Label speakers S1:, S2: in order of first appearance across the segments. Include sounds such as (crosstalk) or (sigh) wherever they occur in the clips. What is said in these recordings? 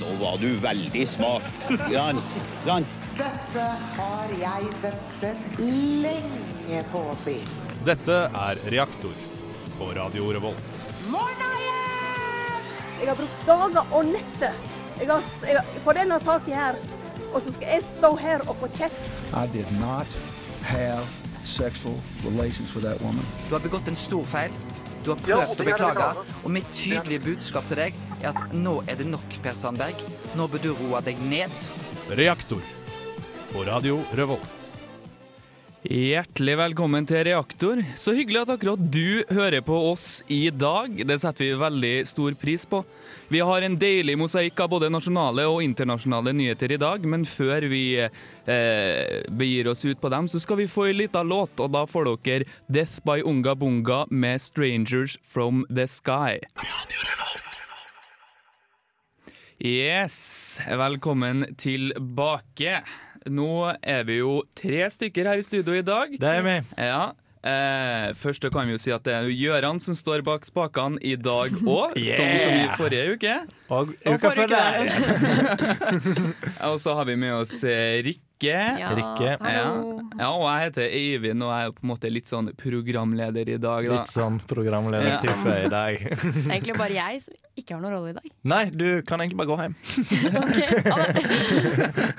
S1: nå var du veldig smart. Sant? Sant?
S2: Dette har jeg ventet lenge på å si.
S3: Dette er Reaktor på Radio Revolt.
S2: Morna igjen!
S4: Jeg har brukt dager og netter jeg har, jeg har, på denne saken her. Og så skal jeg stå her og få kjeft.
S5: I did not have sexual relations with that woman.
S6: Du har begått en stor feil. Du har prøvd å beklage. Og mitt tydelige budskap til deg er at nå er det nok, Per Sandberg. Nå bør du roe deg ned.
S3: Reaktor på Radio Revolt.
S7: Hjertelig velkommen til Reaktor. Så hyggelig at akkurat du hører på oss i dag. Det setter vi veldig stor pris på. Vi har en deilig mosaikk av både nasjonale og internasjonale nyheter i dag, men før vi eh, begir oss ut på dem, så skal vi få ei lita låt, og da får dere 'Death by Unga Bunga' med 'Strangers From The Sky'. Yes, velkommen tilbake. Nå er vi jo tre stykker her i studio i dag.
S8: Det er vi.
S7: Ja. Eh, først så kan vi jo si at det er jo Gøran som står bak spakene i
S8: (laughs)
S7: dag òg, som, som i forrige uke.
S8: Og uka før der.
S7: Og så har vi med oss eh, Rikke.
S9: Ja,
S8: Rikke.
S7: Ja.
S9: hallo.
S7: ja, og jeg heter Eivind, og jeg er jo på en måte litt sånn programleder i dag. Da.
S8: Litt sånn programledertype i dag. (laughs)
S9: Det er egentlig bare jeg som ikke har noen rolle i dag.
S8: Nei, du kan egentlig bare gå hjem.
S9: (laughs)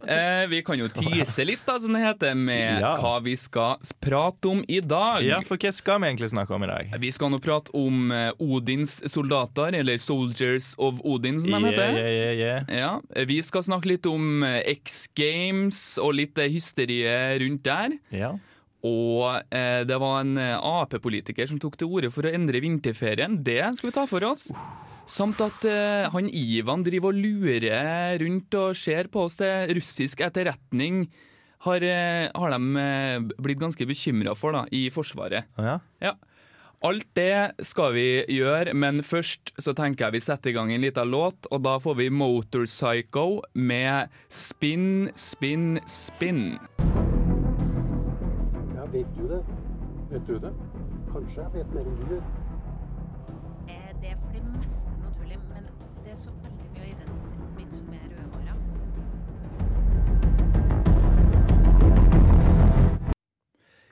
S7: Eh, vi kan jo tease litt, da, som det heter, med
S8: Ja.
S7: hva vi skal prate om i dag.
S8: Ja, for hva skal vi egentlig snakke om i dag?
S7: Vi skal nå prate om eh, Odins soldater, eller Soldiers of Odin, som de
S8: Yeah,
S7: heter.
S8: yeah, yeah, yeah.
S7: Ja, eh, Vi skal snakke litt om eh, X Games og litt eh, hysteriet rundt der.
S8: Ja.
S7: Og eh, det var en eh, Ap-politiker som tok til orde for å endre vinterferien. Det skal vi ta for oss. Samt at eh, han Ivan driver og lurer rundt og ser på oss til russisk etterretning. Har, eh, har de eh, blitt ganske bekymra for da, i Forsvaret.
S8: ja.
S7: Ja. Alt det skal vi gjøre, men først så tenker jeg vi setter i gang en liten låt, og da får vi Motorpsycho med Spin, Spin, Spin.
S10: Ja, vet du det? Vet du det? Kanskje jeg vet mer enn du gjør.
S11: Eh, Det er for det meste noe tullig, men det er så veldig mye av identiteten min som er rødhåra.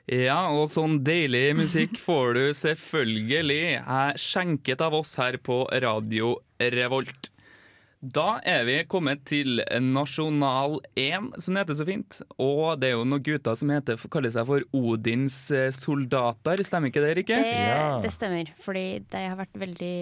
S7: Ja, og sånn deilig musikk får du selvfølgelig her skjenket av oss her på Radio Revolt. Da er vi kommet til Nasjonal 1, som det heter så fint. Og det er jo noen gutter som heter, kaller seg for Odins eh, soldater, stemmer ikke det, Rikke?
S9: Det,
S8: Ja.
S9: det stemmer, fordi det har vært veldig,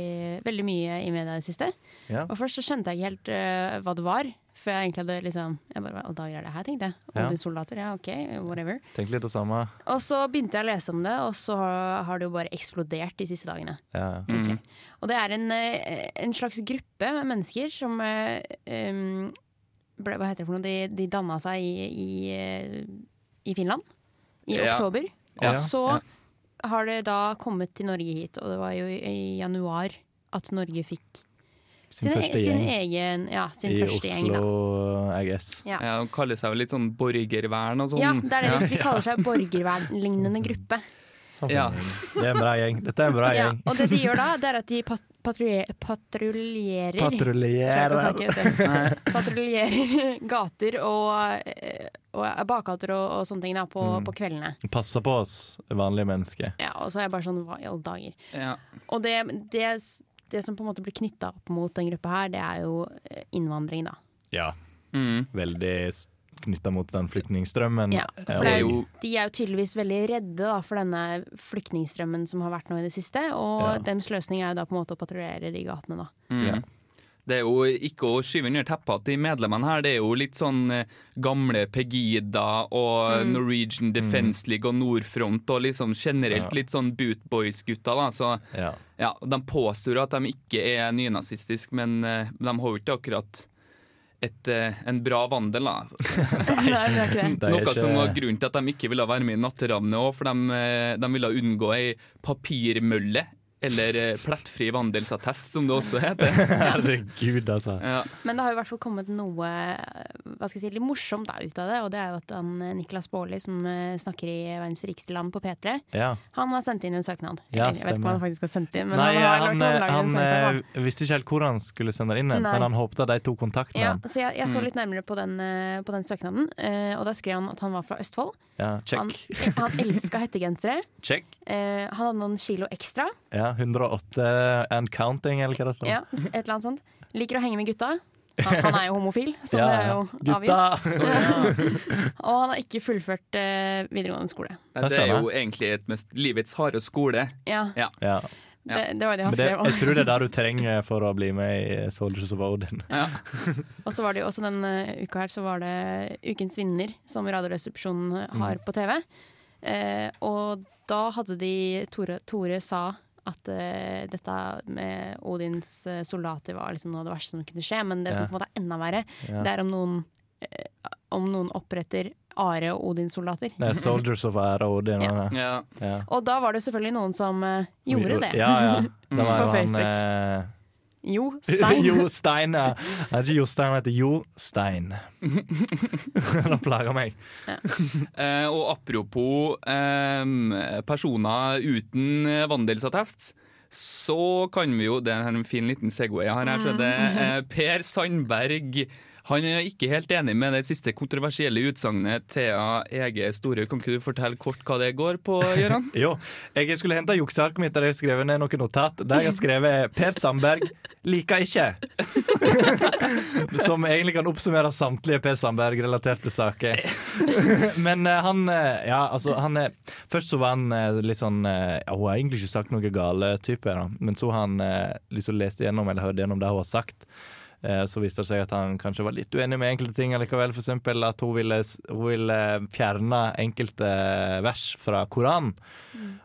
S9: veldig mye i media i det siste.
S8: Ja.
S9: Og først så skjønte jeg ikke helt eh, hva det var, før jeg egentlig hadde liksom Jeg bare, Hva i dager er det her, tenkte jeg.
S8: Ja.
S9: Odin-soldater, ja OK, whatever.
S8: Tenk litt det samme.
S9: Og så begynte jeg å lese om det, og så har, har det jo bare eksplodert de siste dagene.
S8: Ja.
S7: Mm.
S9: egentlig. Og det er en, eh, en slags gruppe med mennesker som eh, um, ble, Hva heter det for noe? De, de danna seg i, i, eh, i Finland i
S7: Ja.
S9: oktober.
S7: Ja.
S9: Og så
S7: Ja.
S9: har det da kommet til Norge hit, og det var jo i, i januar at Norge fikk
S8: Sin
S9: e-
S8: første
S9: sin
S8: gjeng
S9: egen, ja, sin
S8: I
S9: første gjeng. Da.
S8: Oslo, I guess.
S9: Ja.
S7: Ja, De kaller seg vel litt sånn borgervern og sånn.
S9: Ja, det er det de- de kaller seg borgervernlignende gruppe.
S7: Ja.
S8: Det er en bra gjeng. Dette er en bra
S9: Ja,
S8: gjeng.
S9: og det de gjør da, det er at de pat- patrulje- patruljerer Klarer ikke å
S8: Patruljerer.
S9: snakke,
S8: (laughs)
S9: vet du. Patruljerer (laughs) gater og, eh, og bakgater og, og sånne ting da, på,
S8: Mm.
S9: på kveldene.
S8: Passer på oss, vanlige mennesker.
S9: Ja, og så er jeg bare sånn hva i alle dager.
S7: Ja.
S9: Og det, det, det som på en måte blir knytta opp mot den gruppa her, det er jo eh, innvandring, da.
S8: Ja.
S7: Mm.
S8: Veldig knytta mot den flyktningstrømmen. Eh,
S9: Ja, for
S7: det er
S8: Mm. og-
S7: jo
S9: De er jo tydeligvis veldig redde da, for denne flyktningstrømmen som har vært nå i det siste, og
S8: Ja.
S9: deres løsning er jo da på en måte å patruljere de gatene,
S8: (laughs)
S9: da.
S8: ja.
S7: Det er jo ikke å skyve under teppet at de medlemmene her, det er jo litt sånn eh, gamle Pegida og
S9: Mm.
S7: Norwegian Defence League og Nordfront og liksom generelt
S8: Mm. Ja.
S7: litt sånn Bootboys-gutter, da. Så
S8: Ja.
S9: (laughs)
S7: ja, de påstår at de ikke er nynazistiske, men eh, de har jo ikke akkurat et, eh, en bra vandel, da.
S9: Nei, det er ikke det.
S8: Det er
S7: Noe
S8: ikke-
S7: som var grunnen til at de ikke ville være med i Natteravnet òg, for de, eh, de ville unngå ei papirmølle Eller eh, plettfri vandelsattest, som det også heter.
S8: (laughs) Herregud, altså.
S7: Ja.
S9: Men det har jo i hvert fall kommet noe hva skal jeg si, litt morsomt da, ut av det. Og det er jo at han, eh, Niklas Baarli, som eh, snakker i Verdens rikeste land på P3,
S8: Ja.
S9: han har sendt inn en søknad.
S8: Ja,
S9: Eller, jeg vet ikke
S8: stemmer.
S9: om han faktisk har sendt inn, men
S8: Nei,
S9: han har
S8: han,
S9: lagt
S8: eh,
S9: han,
S8: han,
S9: han,
S8: eh, visste ikke helt hvor han skulle sende det inn,
S9: Nei.
S8: men han håpte at de tok kontakt med
S9: ja,
S8: han.
S9: så jeg, jeg så
S8: Mm.
S9: litt nærmere på den, eh, på den søknaden, eh, og da skrev han at han var fra Østfold.
S8: Ja,
S9: Han,
S8: check.
S9: han elska hettegensere.
S8: Check.
S9: Eh, han hadde noen kilo ekstra.
S8: Ja, 108 and counting, eller hva det står.
S9: Ja, et eller annet sånt. Liker å henge med gutta. Han, han er jo homofil, så
S8: Ja,
S9: det er jo
S8: ja. Gutta!
S9: avvist. (laughs) og han har ikke fullført eh, videregående skole.
S7: Nei, Det er jo egentlig et mest livets harde skole.
S9: Ja.
S7: Ja.
S8: Ja.
S9: Det, det var det
S8: Men
S9: han
S8: det,
S9: skrev om.
S8: jeg tror det er det du trenger for å bli med i Soldiers of Odin.
S9: Og så var det jo også den eh, uka her så var det Ukens vinner, som Radioresepsjonen eh, har
S8: Mm.
S9: på TV. Eh, og da hadde de Tore, Tore sa at eh, dette med Odins eh, soldater var liksom noe av det verste som kunne skje, men det
S12: Ja.
S9: som på en måte er enda verre,
S8: Ja.
S9: det er om noen, eh, om noen oppretter Are og Odins soldater.
S8: Det er Soldiers of Ære og Odin.
S9: Ja.
S8: Ja. Ja.
S9: Og da var det jo selvfølgelig noen som eh, gjorde det
S8: Ja, ja. Det var jo
S9: på
S8: han,
S9: Facebook.
S8: eh,
S9: (laughs) Jo,
S8: (laughs)
S9: Stein.
S8: jo Stein, ja. Han heter ikke Jo Stein, han heter Jo Stein. Han plager meg.
S7: Eh, og apropos eh, personer uten eh, vandelsattest, så kan vi jo Det er en fin liten Segway her. her så er det, eh, per Sandberg han er ikke helt enig med det siste kontroversielle utsagnet Thea Ege Storhaug. Kan ikke du fortelle kort hva det går på, Gøran?
S8: (laughs) Jo, jeg skulle hente juksearket mitt der jeg har skrevet ned noen notat. Der jeg har skrevet 'Per Sandberg liker ikke'. Som egentlig kan oppsummere samtlige Per Sandberg-relaterte saker. (laughs) Men eh, han eh, Ja, altså, han er Først så var han eh, litt sånn eh, ja, Hun har egentlig ikke sagt noe gale, type, da. men så han eh, liksom leste gjennom eller hørte gjennom det hun har sagt. Eh, Så viste det seg at han kanskje var litt uenig med enkelte ting allikevel. For eksempel at hun ville, hun ville fjerne enkelte eh, vers fra Koranen.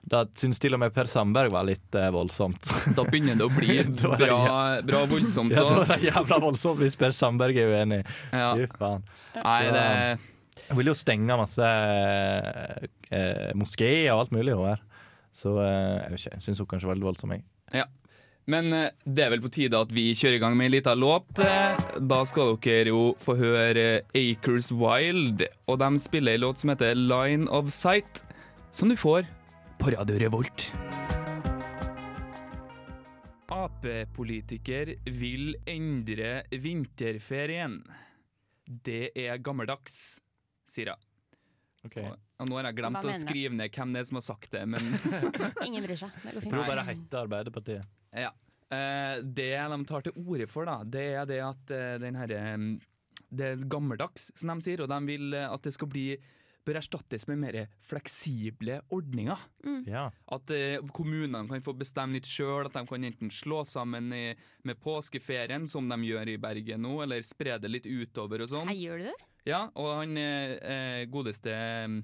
S8: Da syns til og med Per Sandberg var litt eh, voldsomt. (laughs)
S7: Da begynner det å bli
S8: Da er det-
S7: bra, bra voldsomt.
S8: Ja, da
S7: da.
S8: er det jævla voldsomt hvis Per Sandberg er uenig. Fy faen.
S7: Nei,
S8: Så,
S7: det-
S8: Hun vil jo stenge masse eh, moskeer og alt mulig, hun her. Så eh, jeg vet ikke, jeg syns hun kanskje var litt voldsom, jeg.
S7: Ja. Men eh, det er vel på tide at vi kjører i gang med en liten låt. eh. Da skal dere jo få høre eh, Acres Wild, og de spiller en låt som heter Line of Sight, som du får på Radio Revolt. Ap-politiker vil endre vinterferien. Det er gammeldags, sier hun. Og- Og nå har jeg glemt
S9: Hva
S7: å
S9: mener du?
S7: skrive ned hvem det er som har sagt det, men
S9: Ingen bryr seg. Det
S8: Jeg
S9: går fint.
S8: tror bare hette Arbeiderpartiet.
S7: Ja. Eh, det de tar til orde for, da, det er det at eh, den herre mm, Det er gammeldags, som de sier, og de vil eh, at det skal bli Bør erstattes med mer fleksible ordninger.
S9: Mm.
S8: Ja.
S7: At eh, kommunene kan få bestemme litt sjøl, at de kan enten slå sammen i, med påskeferien, som de gjør i Bergen nå, eller spre det litt utover og sånn.
S9: Nei, gjør du det?
S7: Ja, og han eh, eh, godeste eh,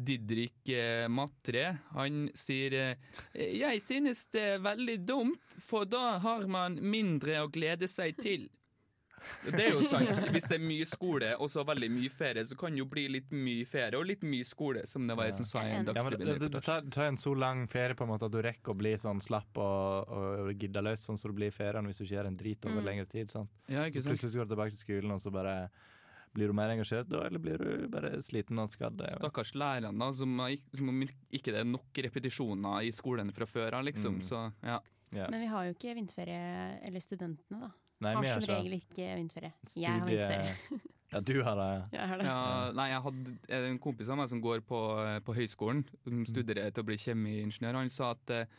S7: Didrik eh, Matre, han sier eh, Jeg synes det er veldig dumt, for da har man mindre å glede seg til. Det er jo sant. Hvis det er mye skole og så veldig mye ferie, så kan det jo bli litt mye ferie og litt mye skole, som det var jeg som sa i en
S8: Ja, men det- det- du,
S7: Dagsrevyen-reportasje.
S8: tar, du tar en så lang ferie på en måte at du rekker å bli sånn slapp og, og, og gidda løs, sånn som du blir i ferien hvis du ikke gjør en drit over
S7: Mm.
S8: lengre tid. Sant?
S7: Ja, ikke
S8: så
S7: sant?
S8: plutselig skal du tilbake til skolen, og så bare blir du mer engasjert da, eller blir du bare sliten og skadd? Jeg vet.
S7: Stakkars lærerne, da, som, har ikk- som om ikke det er nok repetisjoner i skolen fra før av,
S8: Mm.
S7: liksom. Så ja.
S9: Men vi har jo ikke vinterferie, eller studentene, da.
S7: Nei, vi har
S9: har som
S7: ikke det.
S9: regel ikke vinterferie. Jeg har vinterferie.
S8: (laughs)
S9: (laughs)
S8: Ja, du har det.
S9: Jeg har det.
S7: Ja, nei, jeg hadde eh, en kompis av meg som går på, eh, på høyskolen, som studerer til å bli kjemiingeniør. Han sa at eh,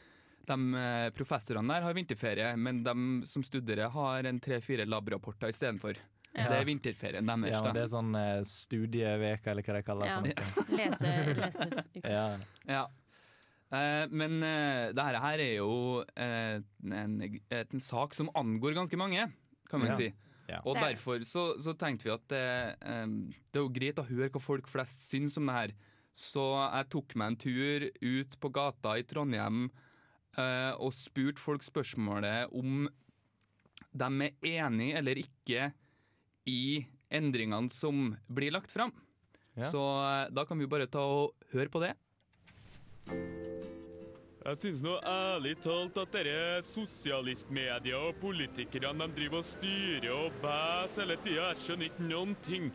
S7: de eh, professorene der har vinterferie, men de som studerer har en tre-fire labrapporter istedenfor.
S8: Ja.
S7: Det er vinterferien deres.
S8: Ja,
S7: da.
S8: men det er sånn eh, studieveka, eller hva de kaller det.
S9: Ja.
S8: for noe.
S9: Lese, (laughs) lese
S8: Ja.
S7: Ja. Eh, men eh, dette her er jo eh, en, en sak som angår ganske mange, kan man
S8: Ja.
S7: si.
S8: Ja.
S7: Og
S8: Det er det.
S7: derfor så, så tenkte vi at eh, em, det er jo greit å høre hva folk flest syns om det her. Så jeg tok meg en tur ut på gata i Trondheim eh, og spurte folk spørsmålet om de er enig eller ikke i endringene som blir lagt fram.
S8: Ja.
S7: Så eh, da kan vi jo bare ta og høre på det. Jeg synes nå ærlig talt at dere sosialistmedia og politikerne de driver og styrer og bæs hele tida. Jeg skjønner ikke noen ting.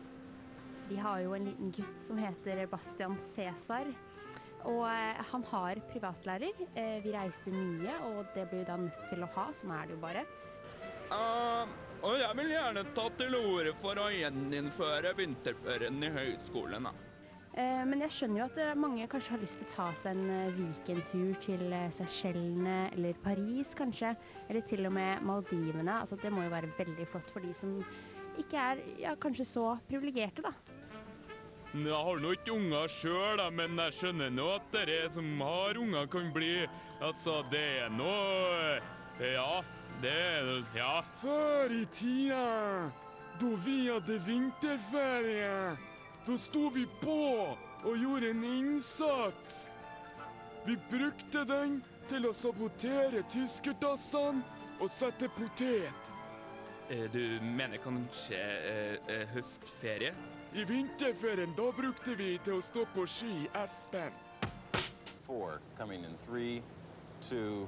S9: Vi har jo en liten gutt som heter Bastian Cæsar. Og eh, han har privatlærer. Eh, Vi reiser mye, og det blir vi da nødt til å ha. Sånn er det jo bare.
S7: Eh, og jeg vil gjerne ta til orde for å gjeninnføre vinterferien i høyskolen. da.
S9: Eh, Men jeg skjønner jo at eh, mange kanskje har lyst til å ta seg en eh, weekendtur til eh, Seychellene eller Paris kanskje, eller til og med Maldivene. Altså, det må jo være veldig flott for de som ikke er ja, kanskje så privilegerte, da.
S7: Jeg har nå ikke unger sjøl, men jeg skjønner nå at dere som har unger, kan bli Altså, det er nå eh, Ja, det er Ja.
S12: Før i tida, da vi hadde vinterferie, da sto vi på og gjorde en innsats. Vi brukte den til å sabotere tyskerdassene og sette potet.
S7: Eh, Du mener kanskje eh, høstferie?
S12: I vinterferien da brukte vi til å stå på ski i Espen.
S13: Four coming in three, two,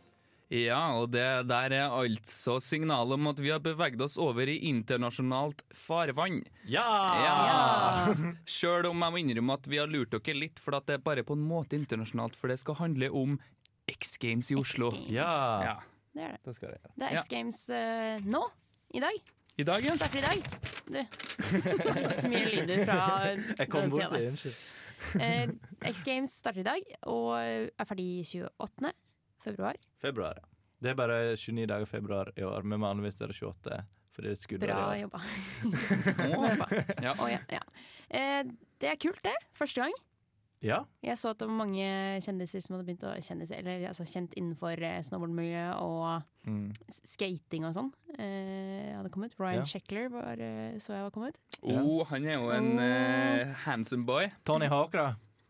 S7: Ja, og det der er altså signalet om at vi har beveget oss over i internasjonalt farvann.
S8: Ja! Ah.
S9: Ah.
S7: ja! Sjøl om jeg må innrømme at vi har lurt dere litt, for at det er bare på en måte internasjonalt, for det skal handle om X Games i Oslo.
S9: Games.
S8: Ja.
S7: ja.
S9: Det er det.
S8: Det skal jeg gjøre.
S9: Det er
S7: Ja.
S9: X Games eh, nå. I dag.
S7: I dag, ja.
S9: Starter i dag. Du.
S8: (laughs)
S9: Litt mye lyder fra
S8: Jeg kom
S9: den
S8: bort
S9: siden der.
S8: til Unnskyld.
S9: Eh, X Games starter i dag og er ferdig 28. februar.
S8: Februar, ja. Det er bare 29 dager i februar i år, men vanligvis er det 28. Fordi det er skuddår.
S9: Bra
S8: i år.
S9: jobba. Bra jobba. (laughs)
S8: Ja.
S9: Å, ja, ja. Eh, det er kult, det. Første gang.
S8: Ja.
S9: Jeg så at det var mange kjendiser som hadde begynt å kjenne seg Eller altså kjent innenfor eh, snowboardmiljø og
S8: Mm.
S9: s- skating og sånn. Eh, hadde kommet. Ryan
S7: Ja.
S9: Sheckler var, eh, så jeg var kommet.
S7: Oh, han er jo en eh, handsome boy.
S8: Tony Hawk, da.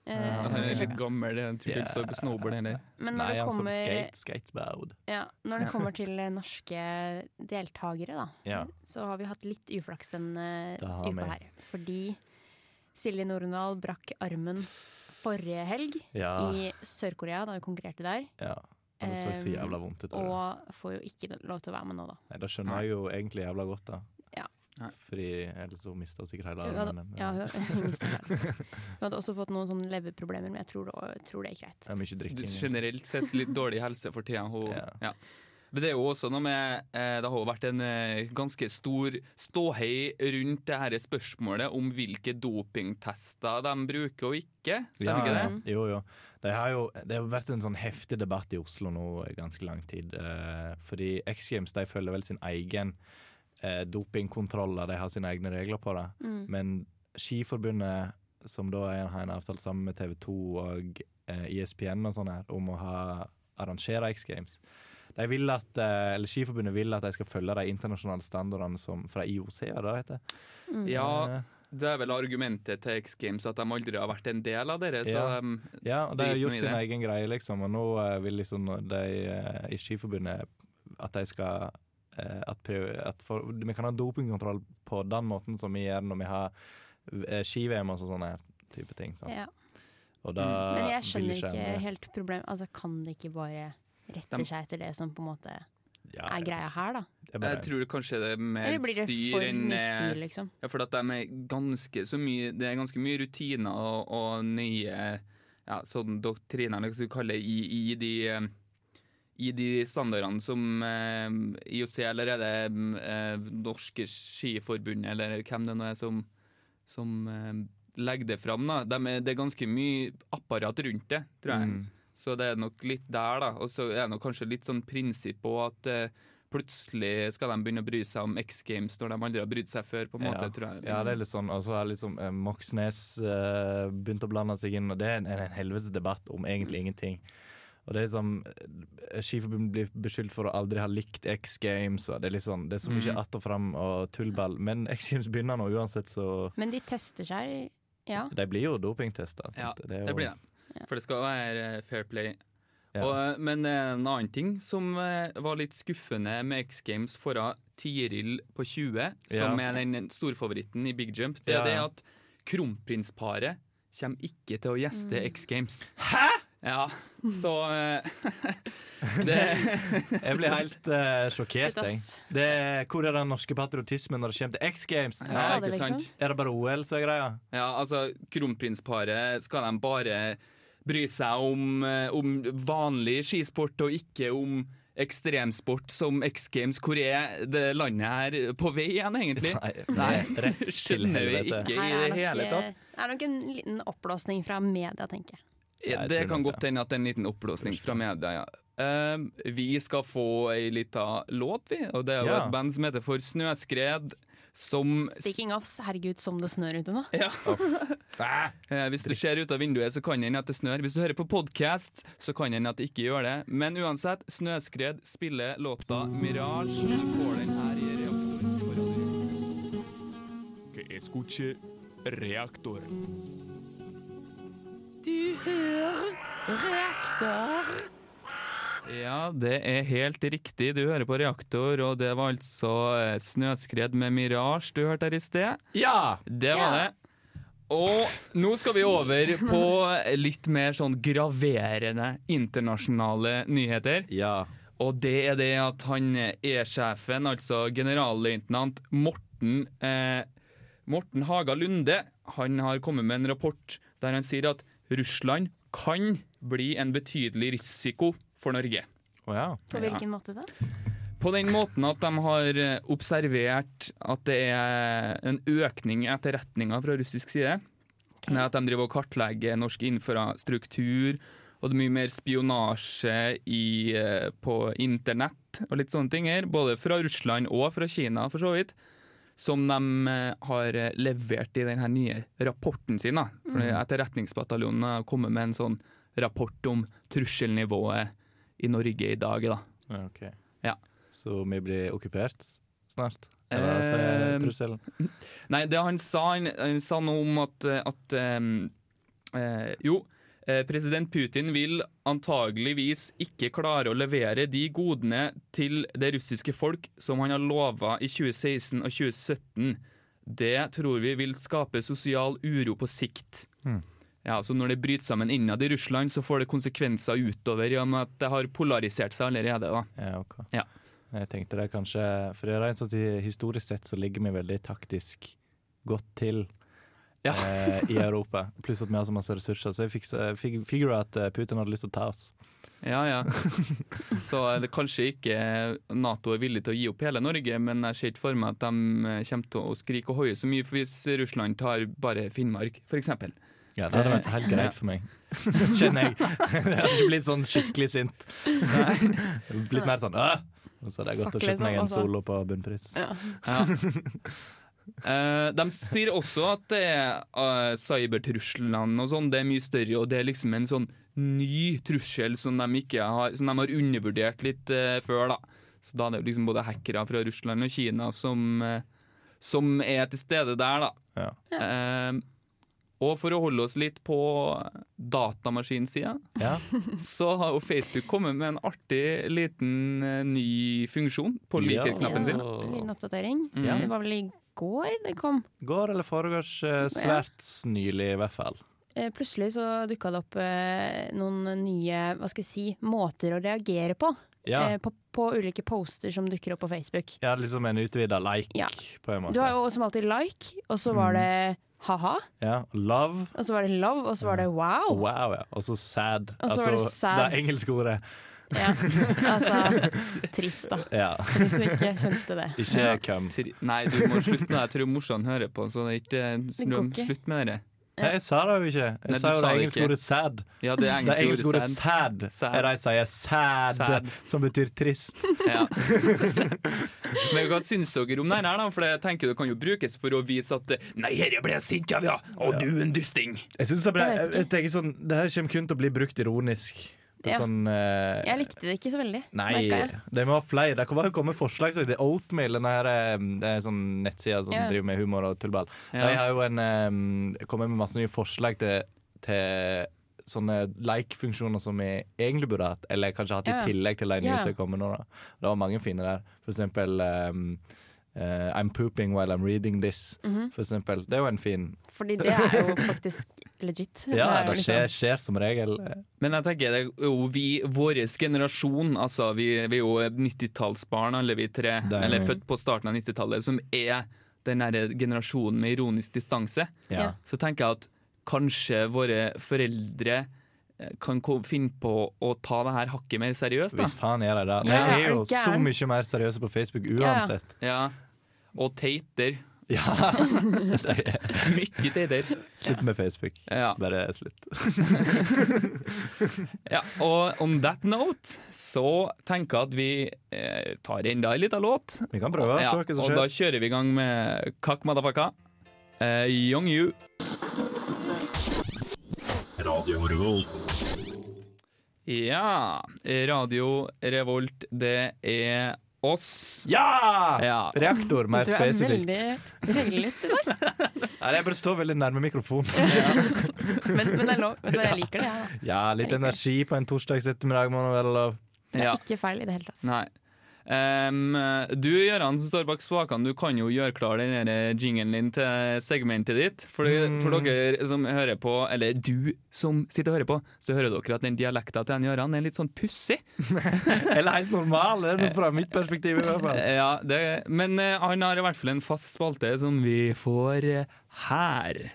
S9: Eh,
S7: Han er litt gammel, jeg tror ikke han står på snowboard heller.
S9: Men når
S8: Nei,
S9: det
S8: han som
S9: kommer-
S8: skate, skateboard.
S9: Ja, når det kommer til eh, norske deltakere, da,
S8: Ja.
S9: så har vi hatt litt uflaks denne
S8: Det har vi.
S9: uka her. Fordi Silje Nordendal brakk armen forrige helg
S8: Ja.
S9: i Sør-Korea, da hun konkurrerte der.
S8: ja. Det så så
S9: Eh,
S8: jævla vondt ut. Og...
S9: Og får jo ikke lov til å være med nå, da.
S8: Nei, det skjønner jeg jo egentlig jævla godt, da.
S9: Ja.
S8: Fordi ellers så mister hun sikkert hele
S9: Hun hadde, (laughs)
S8: armen.
S9: ja, hun, hun, mistet
S8: (laughs)
S9: det. hun hadde også fått noen sånne leverproblemer, men jeg tror det, tror det er greit.
S8: Det er mye drikking.
S7: Generelt sett litt dårlig helse for tida.
S8: (laughs)
S7: Hun, ja. Men det er jo også noe med eh, Det har jo vært en eh, ganske stor ståhei rundt det her spørsmålet om hvilke dopingtester de bruker og ikke. Stemmer
S8: ja,
S7: ikke det?
S8: Jo, jo. Det har jo det har vært en sånn heftig debatt i Oslo nå i ganske lang tid. eh, fordi X Games de følger vel sin egen eh, dopingkontroller, de har sine egne regler på det.
S14: Mm.
S8: Men Skiforbundet, som da er, har en avtale sammen med TV 2 og eh, ISPN og sånn her, om å ha, arrangere X Games. De vil at, eh, eller Skiforbundet vil at de skal følge de internasjonale standardene som, fra IOC, hva det heter Eh,
S7: Mm. Ja, Det er vel argumentet til X Games at de aldri har vært en del av dere. Så
S8: Ja.
S7: de
S8: Ja, og de har
S7: driter
S8: gjort
S7: nå i
S8: sin
S7: det.
S8: egen greie, liksom. Og nå eh, vil liksom de eh, i Skiforbundet at de skal eh, at, priori- at for, Vi kan ha dopingkontroll på den måten som vi gjør når vi har eh, ski-VM og sånne her type ting. Sant?
S9: Ja. Mm.
S8: Og da
S9: Men
S8: vil
S9: jeg skjønner ikke
S8: jeg-
S9: helt problemet. Altså, kan det ikke bare rette
S7: Dem-
S9: seg etter det som på en måte
S8: Ja,
S9: er greia her, da?
S7: Jeg, tror kanskje det er mer
S9: Eller blir det
S7: styr
S9: for
S7: enn
S9: mye
S7: eh,
S9: styr, liksom?
S7: Ja, for at de er ganske så mye Det er ganske mye rutiner og, og nye ja, sånn doktriner, eller hva skal du kalle det, i, i de eh, i de standardene som eh, IOC, eller er det eh, Norske Skiforbund, eller hvem det nå er som, som eh, legger det fram, da. De er, det er ganske mye apparat rundt det, tror jeg.
S8: Mm.
S7: Så det er nok litt der, da. Og så er det nok kanskje litt sånn prinsipp på at eh, plutselig skal de begynne å bry seg om X Games når de aldri har brydd seg før, på en måte,
S8: ja.
S7: tror jeg.
S8: Ja, det er litt sånn. Og så har liksom eh,
S7: Mm.
S8: Moxnes eh, begynt å blande seg inn, og det er en, en helvetes debatt om egentlig ingenting. Og det er liksom Skiforbundet blir beskyldt for å aldri ha likt X Games. Og det er litt sånn, det er så mye
S14: Mm.
S8: att og fram og tullball. Men X Games begynner nå uansett, så
S14: Men de tester seg, ja.
S8: De blir jo dopingtesta.
S7: Ja, det blir det. For det skal være eh, fair play. Og, eh, men eh, en annen ting som eh, var litt skuffende med X Games foran Tiril på 20, som
S8: Ja.
S7: er den eh, storfavoritten i big jump, det
S8: Ja.
S7: er det at kronprinsparet kommer ikke til å gjeste
S8: Mm.
S7: X Games. Hæ?! Ja, så eh, det,
S8: Jeg blir helt eh, sjokkert.
S7: Shit, ass.
S8: jeg. Det er, hvor er den norske patriotismen når det kommer til X Games?
S7: Ja, Ja, ikke sant? liksom.
S8: Er det bare OL som er greia?
S7: Ja, altså Kronprinsparet skal de bare bry seg om, eh, om vanlig skisport, og ikke om ekstremsport som X Games. Hvor er det landet her på vei igjen, egentlig? (laughs)
S8: Nei, rett til
S7: skjønner vi
S8: helvete.
S7: ikke
S14: Her
S7: i
S14: er
S7: det hele
S14: nok, eh,
S7: tatt.
S14: er nok en liten oppblåsning fra media, tenker jeg.
S7: Ja, det kan godt hende at det er en liten oppblåsning fra media, ja. Um, vi skal få ei lita låt, vi. Og det er jo
S14: Ja.
S7: et band som heter For snøskred, som
S14: Speaking of, herregud, som det snør ute nå.
S7: Ja. Eh, Hvis du ser ut av vinduet, så kan det hende at det snør. Hvis du hører på podkast, så kan det hende at det ikke gjør det. Men uansett, Snøskred spiller låta 'Mirage'. Du får den her i reaktoren. på radio.
S12: Que escuche reaktor.
S15: Du hører reaktor.
S7: Ja, det er helt riktig. Du hører på Reaktor, og det var altså eh, Snøskred med 'Mirage' du hørte her i sted.
S8: Ja!
S7: Det var
S8: Ja.
S7: det. Og nå skal vi over på litt mer sånn graverende internasjonale nyheter.
S8: Ja.
S7: Og det er det at han eh, E-sjefen, altså generalløytnant Morten eh, Morten Haga Lunde, han har kommet med en rapport der han sier at Russland kan bli en betydelig risiko for Norge.
S14: På
S7: Ja.
S14: hvilken måte da?
S7: På den måten at de har eh, observert at det er en økning i etterretninga fra russisk side. Det er At de driver og kartlegger norsk infrastruktur, og det er mye mer spionasje i, eh, på internett og litt sånne ting her. Både fra Russland og fra Kina, for så vidt. Som de eh, har levert i denne nye rapporten sin. da. For
S14: Mm.
S7: Etterretningsbataljonen har kommet med en sånn rapport om trusselnivået i Norge i dag. da.
S8: Ja, ok.
S7: Ja.
S8: Så vi blir okkupert snart? Eller altså, er
S7: Ehm,
S8: det trusselen?
S7: Nei, det han sa, han, han sa noe om at, at em, eh, Jo, eh, president Putin vil antageligvis ikke klare å levere de godene til det russiske folk som han har lova i 2016 og 2017. Det tror vi vil skape sosial uro på sikt.
S8: Hmm.
S7: Ja, så Når det bryter sammen innad i Russland, så får det konsekvenser utover i og med at det har polarisert seg allerede. da.
S8: Ja, ok.
S7: Ja.
S8: Jeg tenkte det kanskje For det er rent sånn at historisk sett så ligger vi veldig taktisk godt til
S7: Ja.
S8: eh,
S7: (laughs)
S8: i Europa. Pluss at vi har så masse ressurser. Så jeg fikk fig, figura at eh, Putin hadde lyst til å ta oss.
S7: Ja, ja. Så er det kanskje ikke Nato er villig til å gi opp hele Norge, men jeg ser ikke for meg at de eh, kommer til å skrike og hoie så mye for hvis Russland tar bare Finnmark, f.eks.
S8: Ja, det hadde vært helt greit for (laughs) meg. Kjenner jeg. Jeg hadde ikke blitt sånn skikkelig sint. blitt mer sånn Åh! Og så hadde jeg gått
S7: Fuck,
S8: og kjøpt meg
S7: liksom,
S8: en
S7: altså.
S8: solo på bunnpris.
S7: Ja. Eh, de sier også at det er eh, cybertruslene og sånn, det er mye større, og det er liksom en sånn ny trussel som de, ikke har, som de har undervurdert litt eh, før, da. Så da er det jo liksom både hackere fra Russland og Kina som, eh, som er til stede der, da. Eh, og for å holde oss litt på datamaskinsida, så har jo Facebook kommet med en artig liten eh, ny funksjon på
S8: Ja.
S7: liker-knappen sin.
S14: Ja, en liten oppdatering.
S8: Mm.
S7: Ja.
S14: Det var vel i går det kom.
S8: Går eller foregårs eh, svært nylig, i hvert fall.
S14: Eh, Plutselig så dukka det opp eh, noen nye hva skal jeg si, måter å reagere på.
S8: Ja.
S14: Eh, på. På ulike poster som dukker opp på Facebook.
S8: Ja, liksom en utvida like,
S14: Ja.
S8: på en måte.
S14: Du har jo som alltid like, og så
S8: Mm.
S14: var det ha-ha,
S8: Ja, love.
S14: og så var det love, og så var det wow.
S8: Wow, ja. Og så sad.
S14: Og
S8: Altså,
S14: så var det sad.
S8: det engelske ordet.
S14: (laughs) Altså, trist da. (laughs)
S8: Ja.
S14: For de som ikke skjønte det.
S7: Ja.
S8: kom.
S7: Tri- Nei, du må slutte med det. Jeg tror morsan hører på, så det er ikke eh,
S14: Det går ikke.
S7: slutt med det.
S8: Nei, jeg sa det jo ikke. Jeg
S7: Nei,
S8: sa
S7: du
S8: jo
S7: sa
S8: det
S7: det
S8: engelske
S7: ikke.
S8: ordet sad.
S7: Ja, det engelske ordet
S8: ordet sad. Er det jeg sier sad,
S7: Sad.
S8: som betyr
S14: (laughs)
S8: trist.
S7: Ja. Men hva syns dere om det her, da? For jeg tenker det kan jo brukes for å vise at eh, Nei, herre ble jeg sint av, ja! Og du en dusting!
S8: Jeg synes det, ble, jeg,
S7: Jeg vet ikke.
S8: jeg tenker sånn, det her kommer kun til å bli brukt ironisk.
S14: Ja.
S8: Sånn eh,
S14: Jeg likte det ikke så veldig.
S8: Nei,
S14: merket jeg.
S8: det må ha flere. Det kommer komme forslag som heter Oatmeal, den her eh, sånn nettsida som
S14: Ja.
S8: driver med humor og tullball.
S7: Ja.
S8: De har jo en, eh, kommet med masse nye forslag til, til sånne like-funksjoner som vi egentlig burde hatt, eller kanskje hatt
S7: Ja.
S8: i tillegg til de nye
S7: Ja.
S8: som kommer nå. Da. Det var mange fine der. For eksempel eh, eh, I'm pooping while I'm reading this.
S14: Mhm.
S8: For eksempel. Det er jo en fin
S14: Fordi det er jo faktisk legit.
S8: Ja,
S14: er jo
S8: det
S14: liksom-
S8: skjer,
S7: sånn.
S8: skjer som regel. eh,
S7: Men jeg tenker det er jo vi, vår generasjon, altså vi, vi er jo 90-tallsbarn alle vi tre,
S8: er
S7: eller
S8: vi.
S7: født på starten av 90-tallet, som er den der generasjonen med ironisk distanse.
S8: Ja.
S7: Så tenker jeg at kanskje våre foreldre eh, kan ko- finne på å ta det her hakket mer seriøst. Da.
S8: Hvis faen gjør de det. De
S7: Ja,
S8: er
S7: er
S8: jo
S7: du
S8: så
S7: gæren?
S8: mye mer seriøse på Facebook
S7: Ja.
S8: uansett.
S7: Ja. Og teiter.
S8: (laughs)
S7: (laughs)
S8: Ja.
S7: Mye
S8: (laughs)
S7: teiter.
S8: Slutt med Facebook. Bare slutt.
S7: Ja, og on that note så tenker jeg at vi eh, tar enda en liten låt.
S8: Vi kan prøve, se hva som
S7: og
S8: skjer.
S7: da kjører vi i gang med Kakk Madafaka. Eh, Young You.
S3: Radio Revolt.
S7: Ja. Radio Revolt, det er oss.
S8: Ja!
S7: Ja.
S8: Reaktor, mer
S14: Du er
S8: spesifikt.
S14: veldig høylytt i dag.
S8: Nei, jeg burde stå veldig nærme mikrofonen.
S7: (laughs)
S14: Men, men det er lov. Vet du hva, jeg liker det, jeg. da.
S8: Ja, litt energi på en torsdags ettermiddag må nå være lov.
S14: Det er ikke feil i det hele tatt.
S7: Nei. Em, du Gøran, som står bak spakene, du kan jo gjøre klar den der eh, jinglen din til segmentet ditt. For, for
S8: Mm.
S7: dere som hører på, eller du som sitter og hører på, så hører dere at den dialekta til han Gøran er litt sånn pussig.
S8: Eller helt normal, det er noe fra mitt perspektiv i hvert fall.
S7: Ja, det, men eh, han har i hvert fall en fast spalte som vi får eh, her.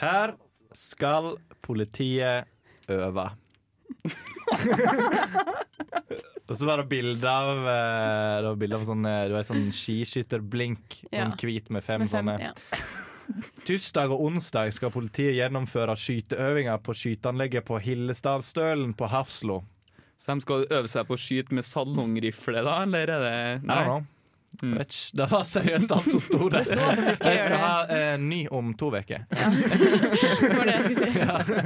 S8: Her skal politiet øve. Og så var det bilde av eh, Det var bilde av sånn, eh, det var en sånn skiskytterblink og en
S14: Ja.
S8: hvit med fem,
S14: Med fem,
S8: sånne.
S14: ja.
S8: Tirsdag og onsdag skal politiet gjennomføre skyteøvinger på skyteanlegget på Hillesdalsstølen på Hafslo.
S7: Så de skal øve seg på å skyte med salongrifle, da, eller er det
S8: I don't know.
S14: Mm.
S8: Vet ikke. Det var seriøst alt som sto der.
S14: (laughs)
S7: Det sto altså at de skal
S8: jeg skal
S7: gjøre det.
S8: ha eh, ny om to uker.
S14: Det var det jeg skulle si.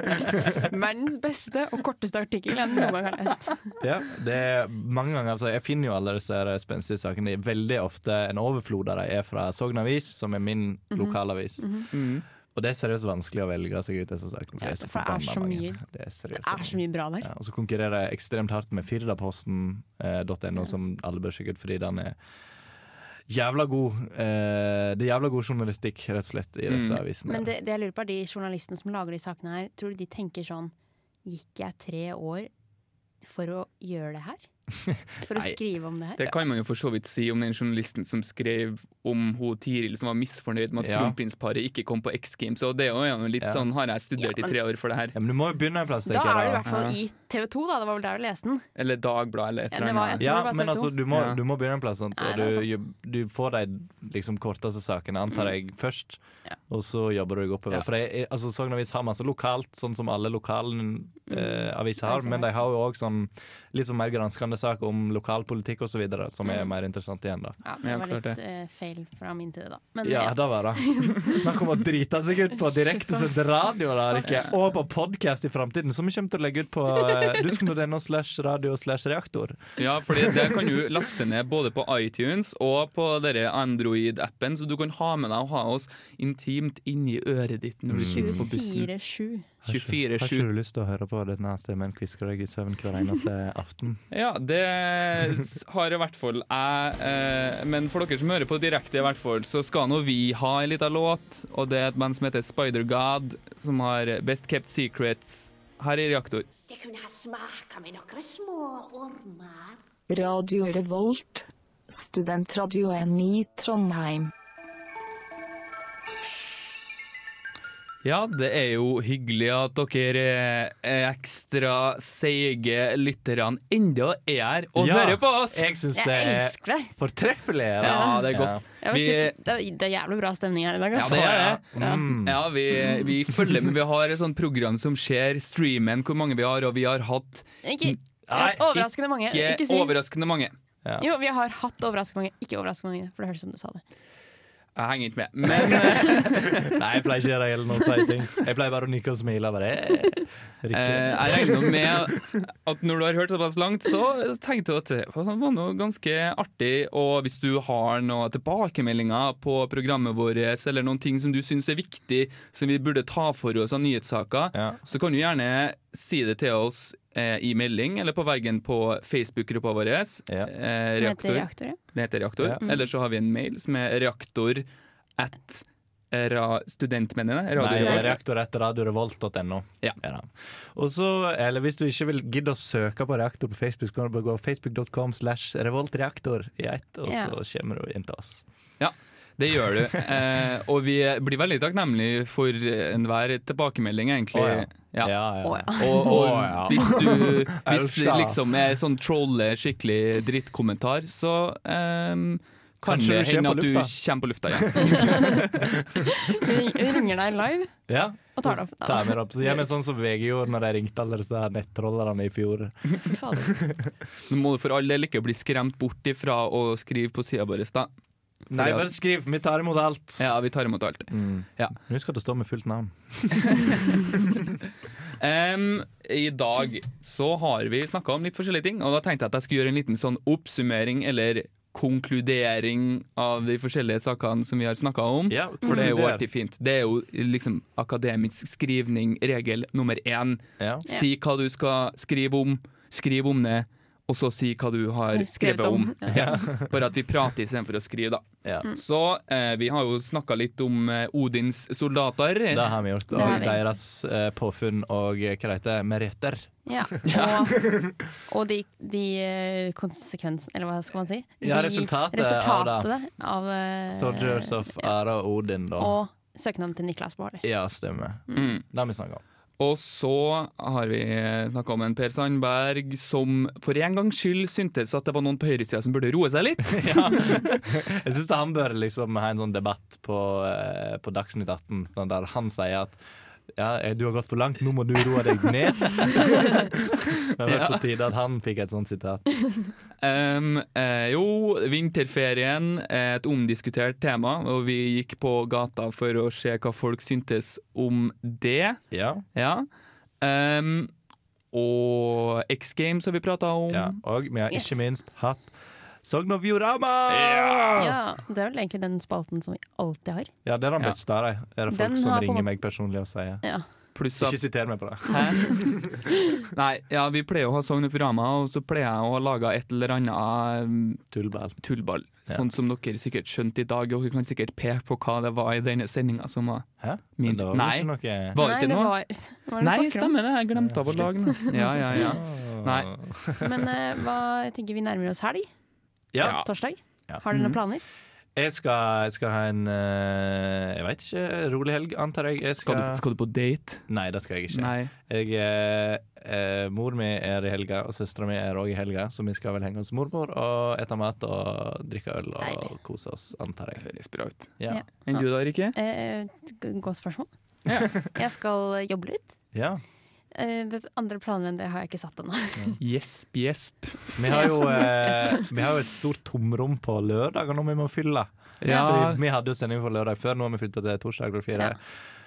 S14: Verdens beste og korteste artikkel jeg noen gang har lest.
S8: Ja, det er mange ganger altså, Jeg finner jo alle disse her spenstige sakene. Det er Veldig ofte en overflod av dem er fra Sogn Avis, som er min
S14: Mhm.
S8: lokalavis.
S14: Mhm.
S8: Og det er seriøst vanskelig å velge seg ut disse sakene. For det er så
S14: For det er
S8: forbanna
S14: så
S8: mange.
S14: mye,
S8: Det er
S14: det
S8: seriøst.
S14: er så mye bra der.
S8: Ja, Eh, og så konkurrerer jeg ekstremt hardt med eh, firdaposten.no, som alle bør sjekke ut, fordi den er jævla god. Eh, det er jævla god journalistikk, rett og slett, i disse
S14: Mm.
S8: avisene.
S14: Men det, det jeg lurer på er de journalistene som lager de sakene her, tror du de tenker sånn Gikk jeg tre år for å gjøre det her? For å
S7: Nei.
S14: skrive om det her?
S7: Det kan man jo for så vidt si om den journalisten som skrev om ho Tiril som var misfornøyd med at
S8: Ja.
S7: kronprinsparet ikke kom på X Games. Og det er jo litt
S8: Ja.
S7: sånn, har jeg studert
S14: Ja, men-
S7: i tre år for det her?
S8: Ja, men du må jo begynne en plass.
S14: Da er det i hvert fall i TV 2, da. Det var vel der du leste den.
S7: Eller Dagbladet, eller et
S14: Ja,
S7: eller
S14: det var- jeg tror
S7: annet.
S14: det var
S8: Ja, men
S14: TV2.
S8: altså, du må,
S7: Ja.
S8: du må begynne en plass, sant?
S14: Nei,
S8: og
S14: det er
S8: du, du får de liksom, korteste sakene,
S14: Mm.
S8: antar jeg, først. Og så jobber du deg oppover.
S7: Ja.
S8: For jeg, altså, Sogn Avis har masse lokalt, sånn som alle lokale
S14: Mm.
S8: eh, aviser har,
S7: Aviser
S8: men
S7: har.
S8: de har jo òg sånn, litt sånn mer granskende sak om lokalpolitikk osv., som er
S14: Mm.
S8: mer interessant igjen, da.
S14: Ja, det var litt eh, feil fra min side, da. Men
S8: ja,
S14: ja,
S8: det var det. Snakk om å drite seg ut på direktesendt radio da, Rikke. og på podkast i framtiden, som vi kommer til å legge ut på (laughs) eh, dusken.no slash radio slash reaktor.
S7: Ja, fordi det kan du laste ned både på iTunes og på dere Android-appen, så du kan ha med deg og ha oss intimt inni øret ditt når du sitter på bussen.
S14: 24-7.
S8: Har ikke-
S7: 24-7.
S8: Har ikke du lyst til å høre på denne stemmen kvisker deg i søvn hver eneste (laughs) aften?
S7: Ja, det s- har i hvert fall jeg. Eh, men for dere som hører på direkte, i hvert fall, så skal nå vi ha en liten låt. Og det er et band som heter Spider God, som har Best Kept Secrets her i Reaktor.
S16: Det kunne ha smaka med noen små ormer.
S17: Radio Revolt. E Studentradioen i Trondheim.
S7: Ja, det er jo hyggelig at dere eh, ekstra seige lytterne ennå er her og
S8: Ja,
S7: hører på oss!
S8: jeg synes
S14: Jeg det er elsker deg.
S8: fortreffelig.
S7: Ja, det er godt.
S14: Jeg vil
S7: Vi,
S14: si, det, er, det er jævlig bra stemning her i dag. altså.
S7: ja,
S14: ass.
S7: det er det.
S14: Ja.
S8: Mm.
S7: Ja, vi, vi følger med. Vi har et sånt program som ser streamen hvor mange vi har, og vi har hatt
S14: Ikke,
S7: Nei,
S14: hatt overraskende mange.
S7: ikke,
S14: Eh, Ikke si.
S7: overraskende mange.
S14: Jo, vi har hatt overraskende mange. Ikke overraskende mange, for det hørtes ut som du sa det.
S7: Jeg henger ikke med. Men
S8: Nei, jeg pleier ikke å gjøre gjeldende å si ting. Jeg pleier bare å nikke og smile. Bare, eh, riktig.
S7: Eh, jeg regner nå med at når du har hørt såpass langt, så tenkte du at det var noe ganske artig. Og hvis du har noen tilbakemeldinger på programmet vårt, eller noen ting som du syns er viktig, som vi burde ta for oss av nyhetssaker, så kan du gjerne si det til oss eh, i melding, eller på veggen på Facebook-gruppa vår. eh,
S14: Som heter Reaktor, ja.
S7: Det heter Reaktor.
S14: Ja. Mm.
S7: Eller så har vi en mail som er reaktor at eh, ra studentmennene.
S8: Nei,
S7: Radio
S8: det er reaktor etter radiorevolt.no.
S7: Ja.
S8: Og så, eller Hvis du ikke vil gidde å søke på reaktor på Facebook, så kan du bare gå facebook.com slash revoltreaktor i ett, og
S7: Ja.
S8: så kommer du inn til oss.
S7: Ja, det gjør du. Eh, og vi blir veldig takknemlige for enhver tilbakemelding, egentlig.
S8: Å,
S7: ja.
S8: Å, ja.
S7: Og, og
S8: Å, ja.
S7: hvis
S8: (laughs)
S7: du, hvis du
S8: Elska.
S7: liksom er sånn trolle skikkelig drittkommentar, så ehm, kan
S8: Kanskje
S7: det
S8: du
S7: hende
S8: kommer
S7: at
S8: på
S7: du
S8: lufta.
S7: kommer på lufta igjen.
S14: Vi
S8: (laughs)
S14: vi ringer deg live.
S8: Ja.
S14: Og tar det opp.
S8: Ta med det opp. Så gjør vi sånn som VG gjorde når de ringte alle disse her nettrollerne i fjor.
S7: Nå må du for all del ikke bli skremt bort ifra å skrive på sida vår, da. Fordi
S8: Nei,
S7: at-
S8: bare skriv. Vi tar imot alt.
S7: Ja, vi tar imot alt. Ja.
S8: Husk at det står med fullt navn.
S7: Em, I dag så har vi snakka om litt forskjellige ting, og da tenkte jeg at jeg skulle gjøre en liten sånn oppsummering eller konkludering av de forskjellige sakene som vi har snakka om. for det er jo
S8: konkluder.
S7: alltid fint. Det er jo liksom akademisk skrivning regel nummer én. Si hva du skal skrive om, skriv om det, og så si hva du har
S8: Har skrevet
S7: skrevet
S8: om,
S7: om.
S8: ja.
S7: Ja. Bare at vi prater istedenfor å skrive, da.
S8: Mm.
S7: Så eh, vi har jo snakka litt om eh, Odins soldater.
S8: Det har vi gjort.
S7: Det har
S8: Og
S7: vi.
S8: deres eh, påfunn og eh, hva det heter mereter.
S14: Ja, og, og de, de eh, konsekvensene, eller hva skal man si?
S8: Ja,
S14: De
S8: resultatet av
S14: resultatet
S8: det.
S14: av, eh,
S8: Soldiers of Ara og Odin, da.
S14: Og søknaden til Niklas Baarli.
S8: Ja, stemmer.
S7: Mm.
S8: Det har vi snakka om.
S7: Og så har vi snakka om en Per Sandberg som for en gangs skyld syntes at det var noen på høyresida som burde roe seg
S8: (laughs)
S7: litt.
S8: Jeg syns han bør liksom ha en sånn debatt på, eh, på Dagsnytt 18, sånn der han sier at ja, eh, du har gått for langt, nå må du roe deg
S14: (laughs)
S8: ned. det hadde vært på tide at han fikk et sånt sitat.
S7: Em, eh, jo, vinterferien er et omdiskutert tema, og vi gikk på gata for å se hva folk syntes om det.
S8: Ja.
S7: Em, og X Games har vi prata om.
S8: Ja, og vi har ikke
S14: Yes.
S8: minst hatt Sogn og Fjordama!
S14: Ja, det er vel egentlig den spalten som vi alltid har.
S8: Ja, det er den beste av dem. Er det folk
S14: Den
S8: som
S14: har på en
S8: ringer
S14: måte-
S8: meg personlig og sier
S14: Ja.
S7: Pluss at-
S8: Ikke siter meg på det.
S7: (laughs) Nei, ja, vi pleier å ha Sogn og Fjordane, og så pleier jeg å ha laga et eller annet um,
S8: tullball. Ja.
S7: Sånn som dere sikkert skjønte i dag, og dere kan sikkert peke på hva det var i denne sendinga som var
S8: Hæ?
S7: min
S8: det var vel
S7: Nei,
S8: ikke noe-
S7: var det
S14: Nei,
S7: ikke
S14: det
S7: noe?
S14: var, hva var det
S7: Nei,
S14: du snakker om?
S7: stemmer det, jeg glemte av å lage den. Ja, ja, (laughs) ja. Nei.
S14: Men eh, hva, jeg tenker vi nærmer oss helg.
S8: Ja.
S14: Torsdag.
S8: Ja.
S14: Har dere noen
S8: Mhm.
S14: planer?
S8: Jeg skal, jeg skal ha en eh, Jeg veit ikke. Rolig helg, antar jeg. jeg
S7: Skal du- skal på date?
S8: Nei, det skal jeg ikke.
S7: Nei.
S8: Jeg, eh, eh, mor mi er i helga, og søstera mi er òg i helga, så vi skal vel henge hos mormor og ete mat og drikke øl og kose oss, antar jeg.
S7: Høres bra ut.
S8: Ja.
S14: Ja.
S7: Enn du da, Rikke?
S14: Eh, g- godt spørsmål. (laughs) jeg skal jobbe litt.
S8: Ja.
S14: Eh, det andre planer enn det har jeg ikke satt ennå.
S8: Mm.
S7: Gjesp, gjesp.
S8: Vi har,
S14: (laughs)
S8: jo,
S14: Ja.
S8: eh, vi har jo et stort tomrom på lørdager når vi må fylle.
S7: Ja.
S8: Fordi Vi hadde jo sending på lørdag før, nå har vi flytta til torsdag klokka fire.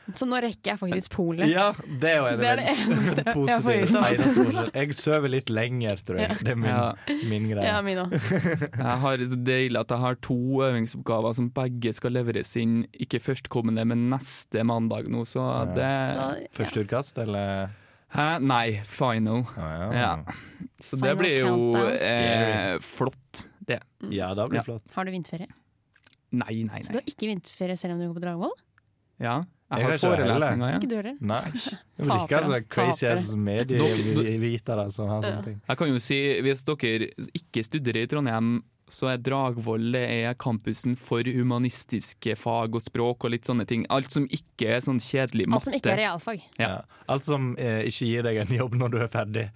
S14: (laughs) Så nå rekker jeg faktisk polet.
S8: Ja, det er jo en
S14: Det er det eneste jeg får
S8: positiv
S14: ut av det.
S8: eneste forskjell. Jeg sover litt lenger, tror jeg.
S14: Ja.
S8: Det er min,
S7: Ja.
S8: min greie.
S14: Ja, min òg.
S7: Jeg har det så deilig at jeg har to øvingsoppgaver som begge skal leveres inn, ikke førstkommende, men neste mandag nå, så det
S14: Så,
S8: Første utkast, eller?
S7: Hæ? Nei, final. ja. Så
S14: Final
S7: det blir jo
S14: countdown.
S7: eh,
S14: Scary.
S7: flott, det.
S8: Ja, det
S7: Ja.
S8: blir flott.
S14: Har du vinterferie?
S7: Nei, nei,
S14: Så du
S7: nei.
S14: har ikke vinterferie selv om du går på Dragvoll?
S7: Ja, jeg
S8: Jeg
S7: har
S8: har ikke det heller.
S7: forelesninger,
S14: Ikke
S7: ja.
S14: du heller?
S8: Nei.
S7: (laughs)
S8: Vi
S14: Tapere,
S8: liker altså crazy
S14: tapere.
S8: ass
S7: Dere-
S8: medievitere som har
S14: Ja.
S8: sånne ting.
S7: Jeg kan jo si, hvis dere ikke studerer i Trondheim, så er Dragvoll det er campusen for humanistiske fag og språk og litt sånne ting. Alt som ikke er sånn kjedelig matte.
S9: Alt som ikke er realfag.
S7: Ja.
S8: Alt som eh, ikke gir deg en jobb når du er
S7: (laughs)
S8: ferdig.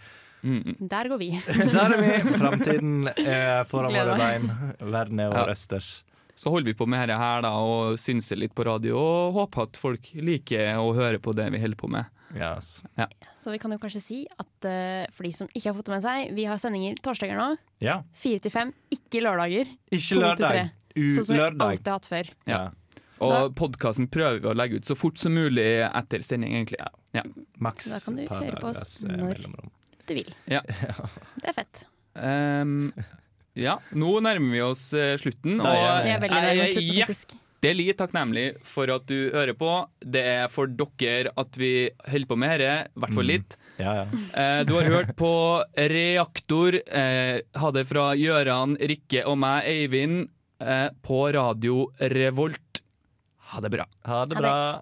S8: Mm.
S9: Der går vi.
S8: (laughs) Der er vi! Framtiden er eh, foran
S9: Gleder
S8: våre
S9: meg.
S8: bein. Verden er vår
S7: Ja.
S8: østers.
S7: Så holder vi på med dette her da, og synser litt på radio og håper at folk liker å høre på det vi holder på med. Ja.
S9: Så vi kan jo kanskje si at eh, for de som ikke har fått det med seg, vi har sendinger torsdager nå.
S8: Ja.
S9: Fire til fem, ikke lørdager.
S8: Ikke
S9: To til
S8: lørdag.
S9: tre.
S8: U-
S9: Sånn som vi
S7: lørdag.
S9: alltid har hatt før.
S7: Ja. Og podkasten prøver vi å legge ut så fort som mulig etter sending, egentlig. Ja.
S8: Maks
S9: Da kan du høre på oss
S8: eh,
S9: når du vil.
S7: Ja.
S9: Det er fett.
S7: Ehm, ja, nå nærmer vi oss eh, slutten.
S9: Da
S7: Og
S9: gjør vi det. Vi er veldig nærme
S7: jeg
S9: slutten,
S7: er
S9: faktisk.
S7: hjertelig takknemlig for at du hører på. Det er for dere at vi holder på med dette, i hvert fall litt. Eh, Du har hørt på Reaktor. eh, Ha det fra Gøran, Rikke og meg, Eivind, eh, på Radio Revolt. Ha det bra.
S8: Ha
S7: det bra.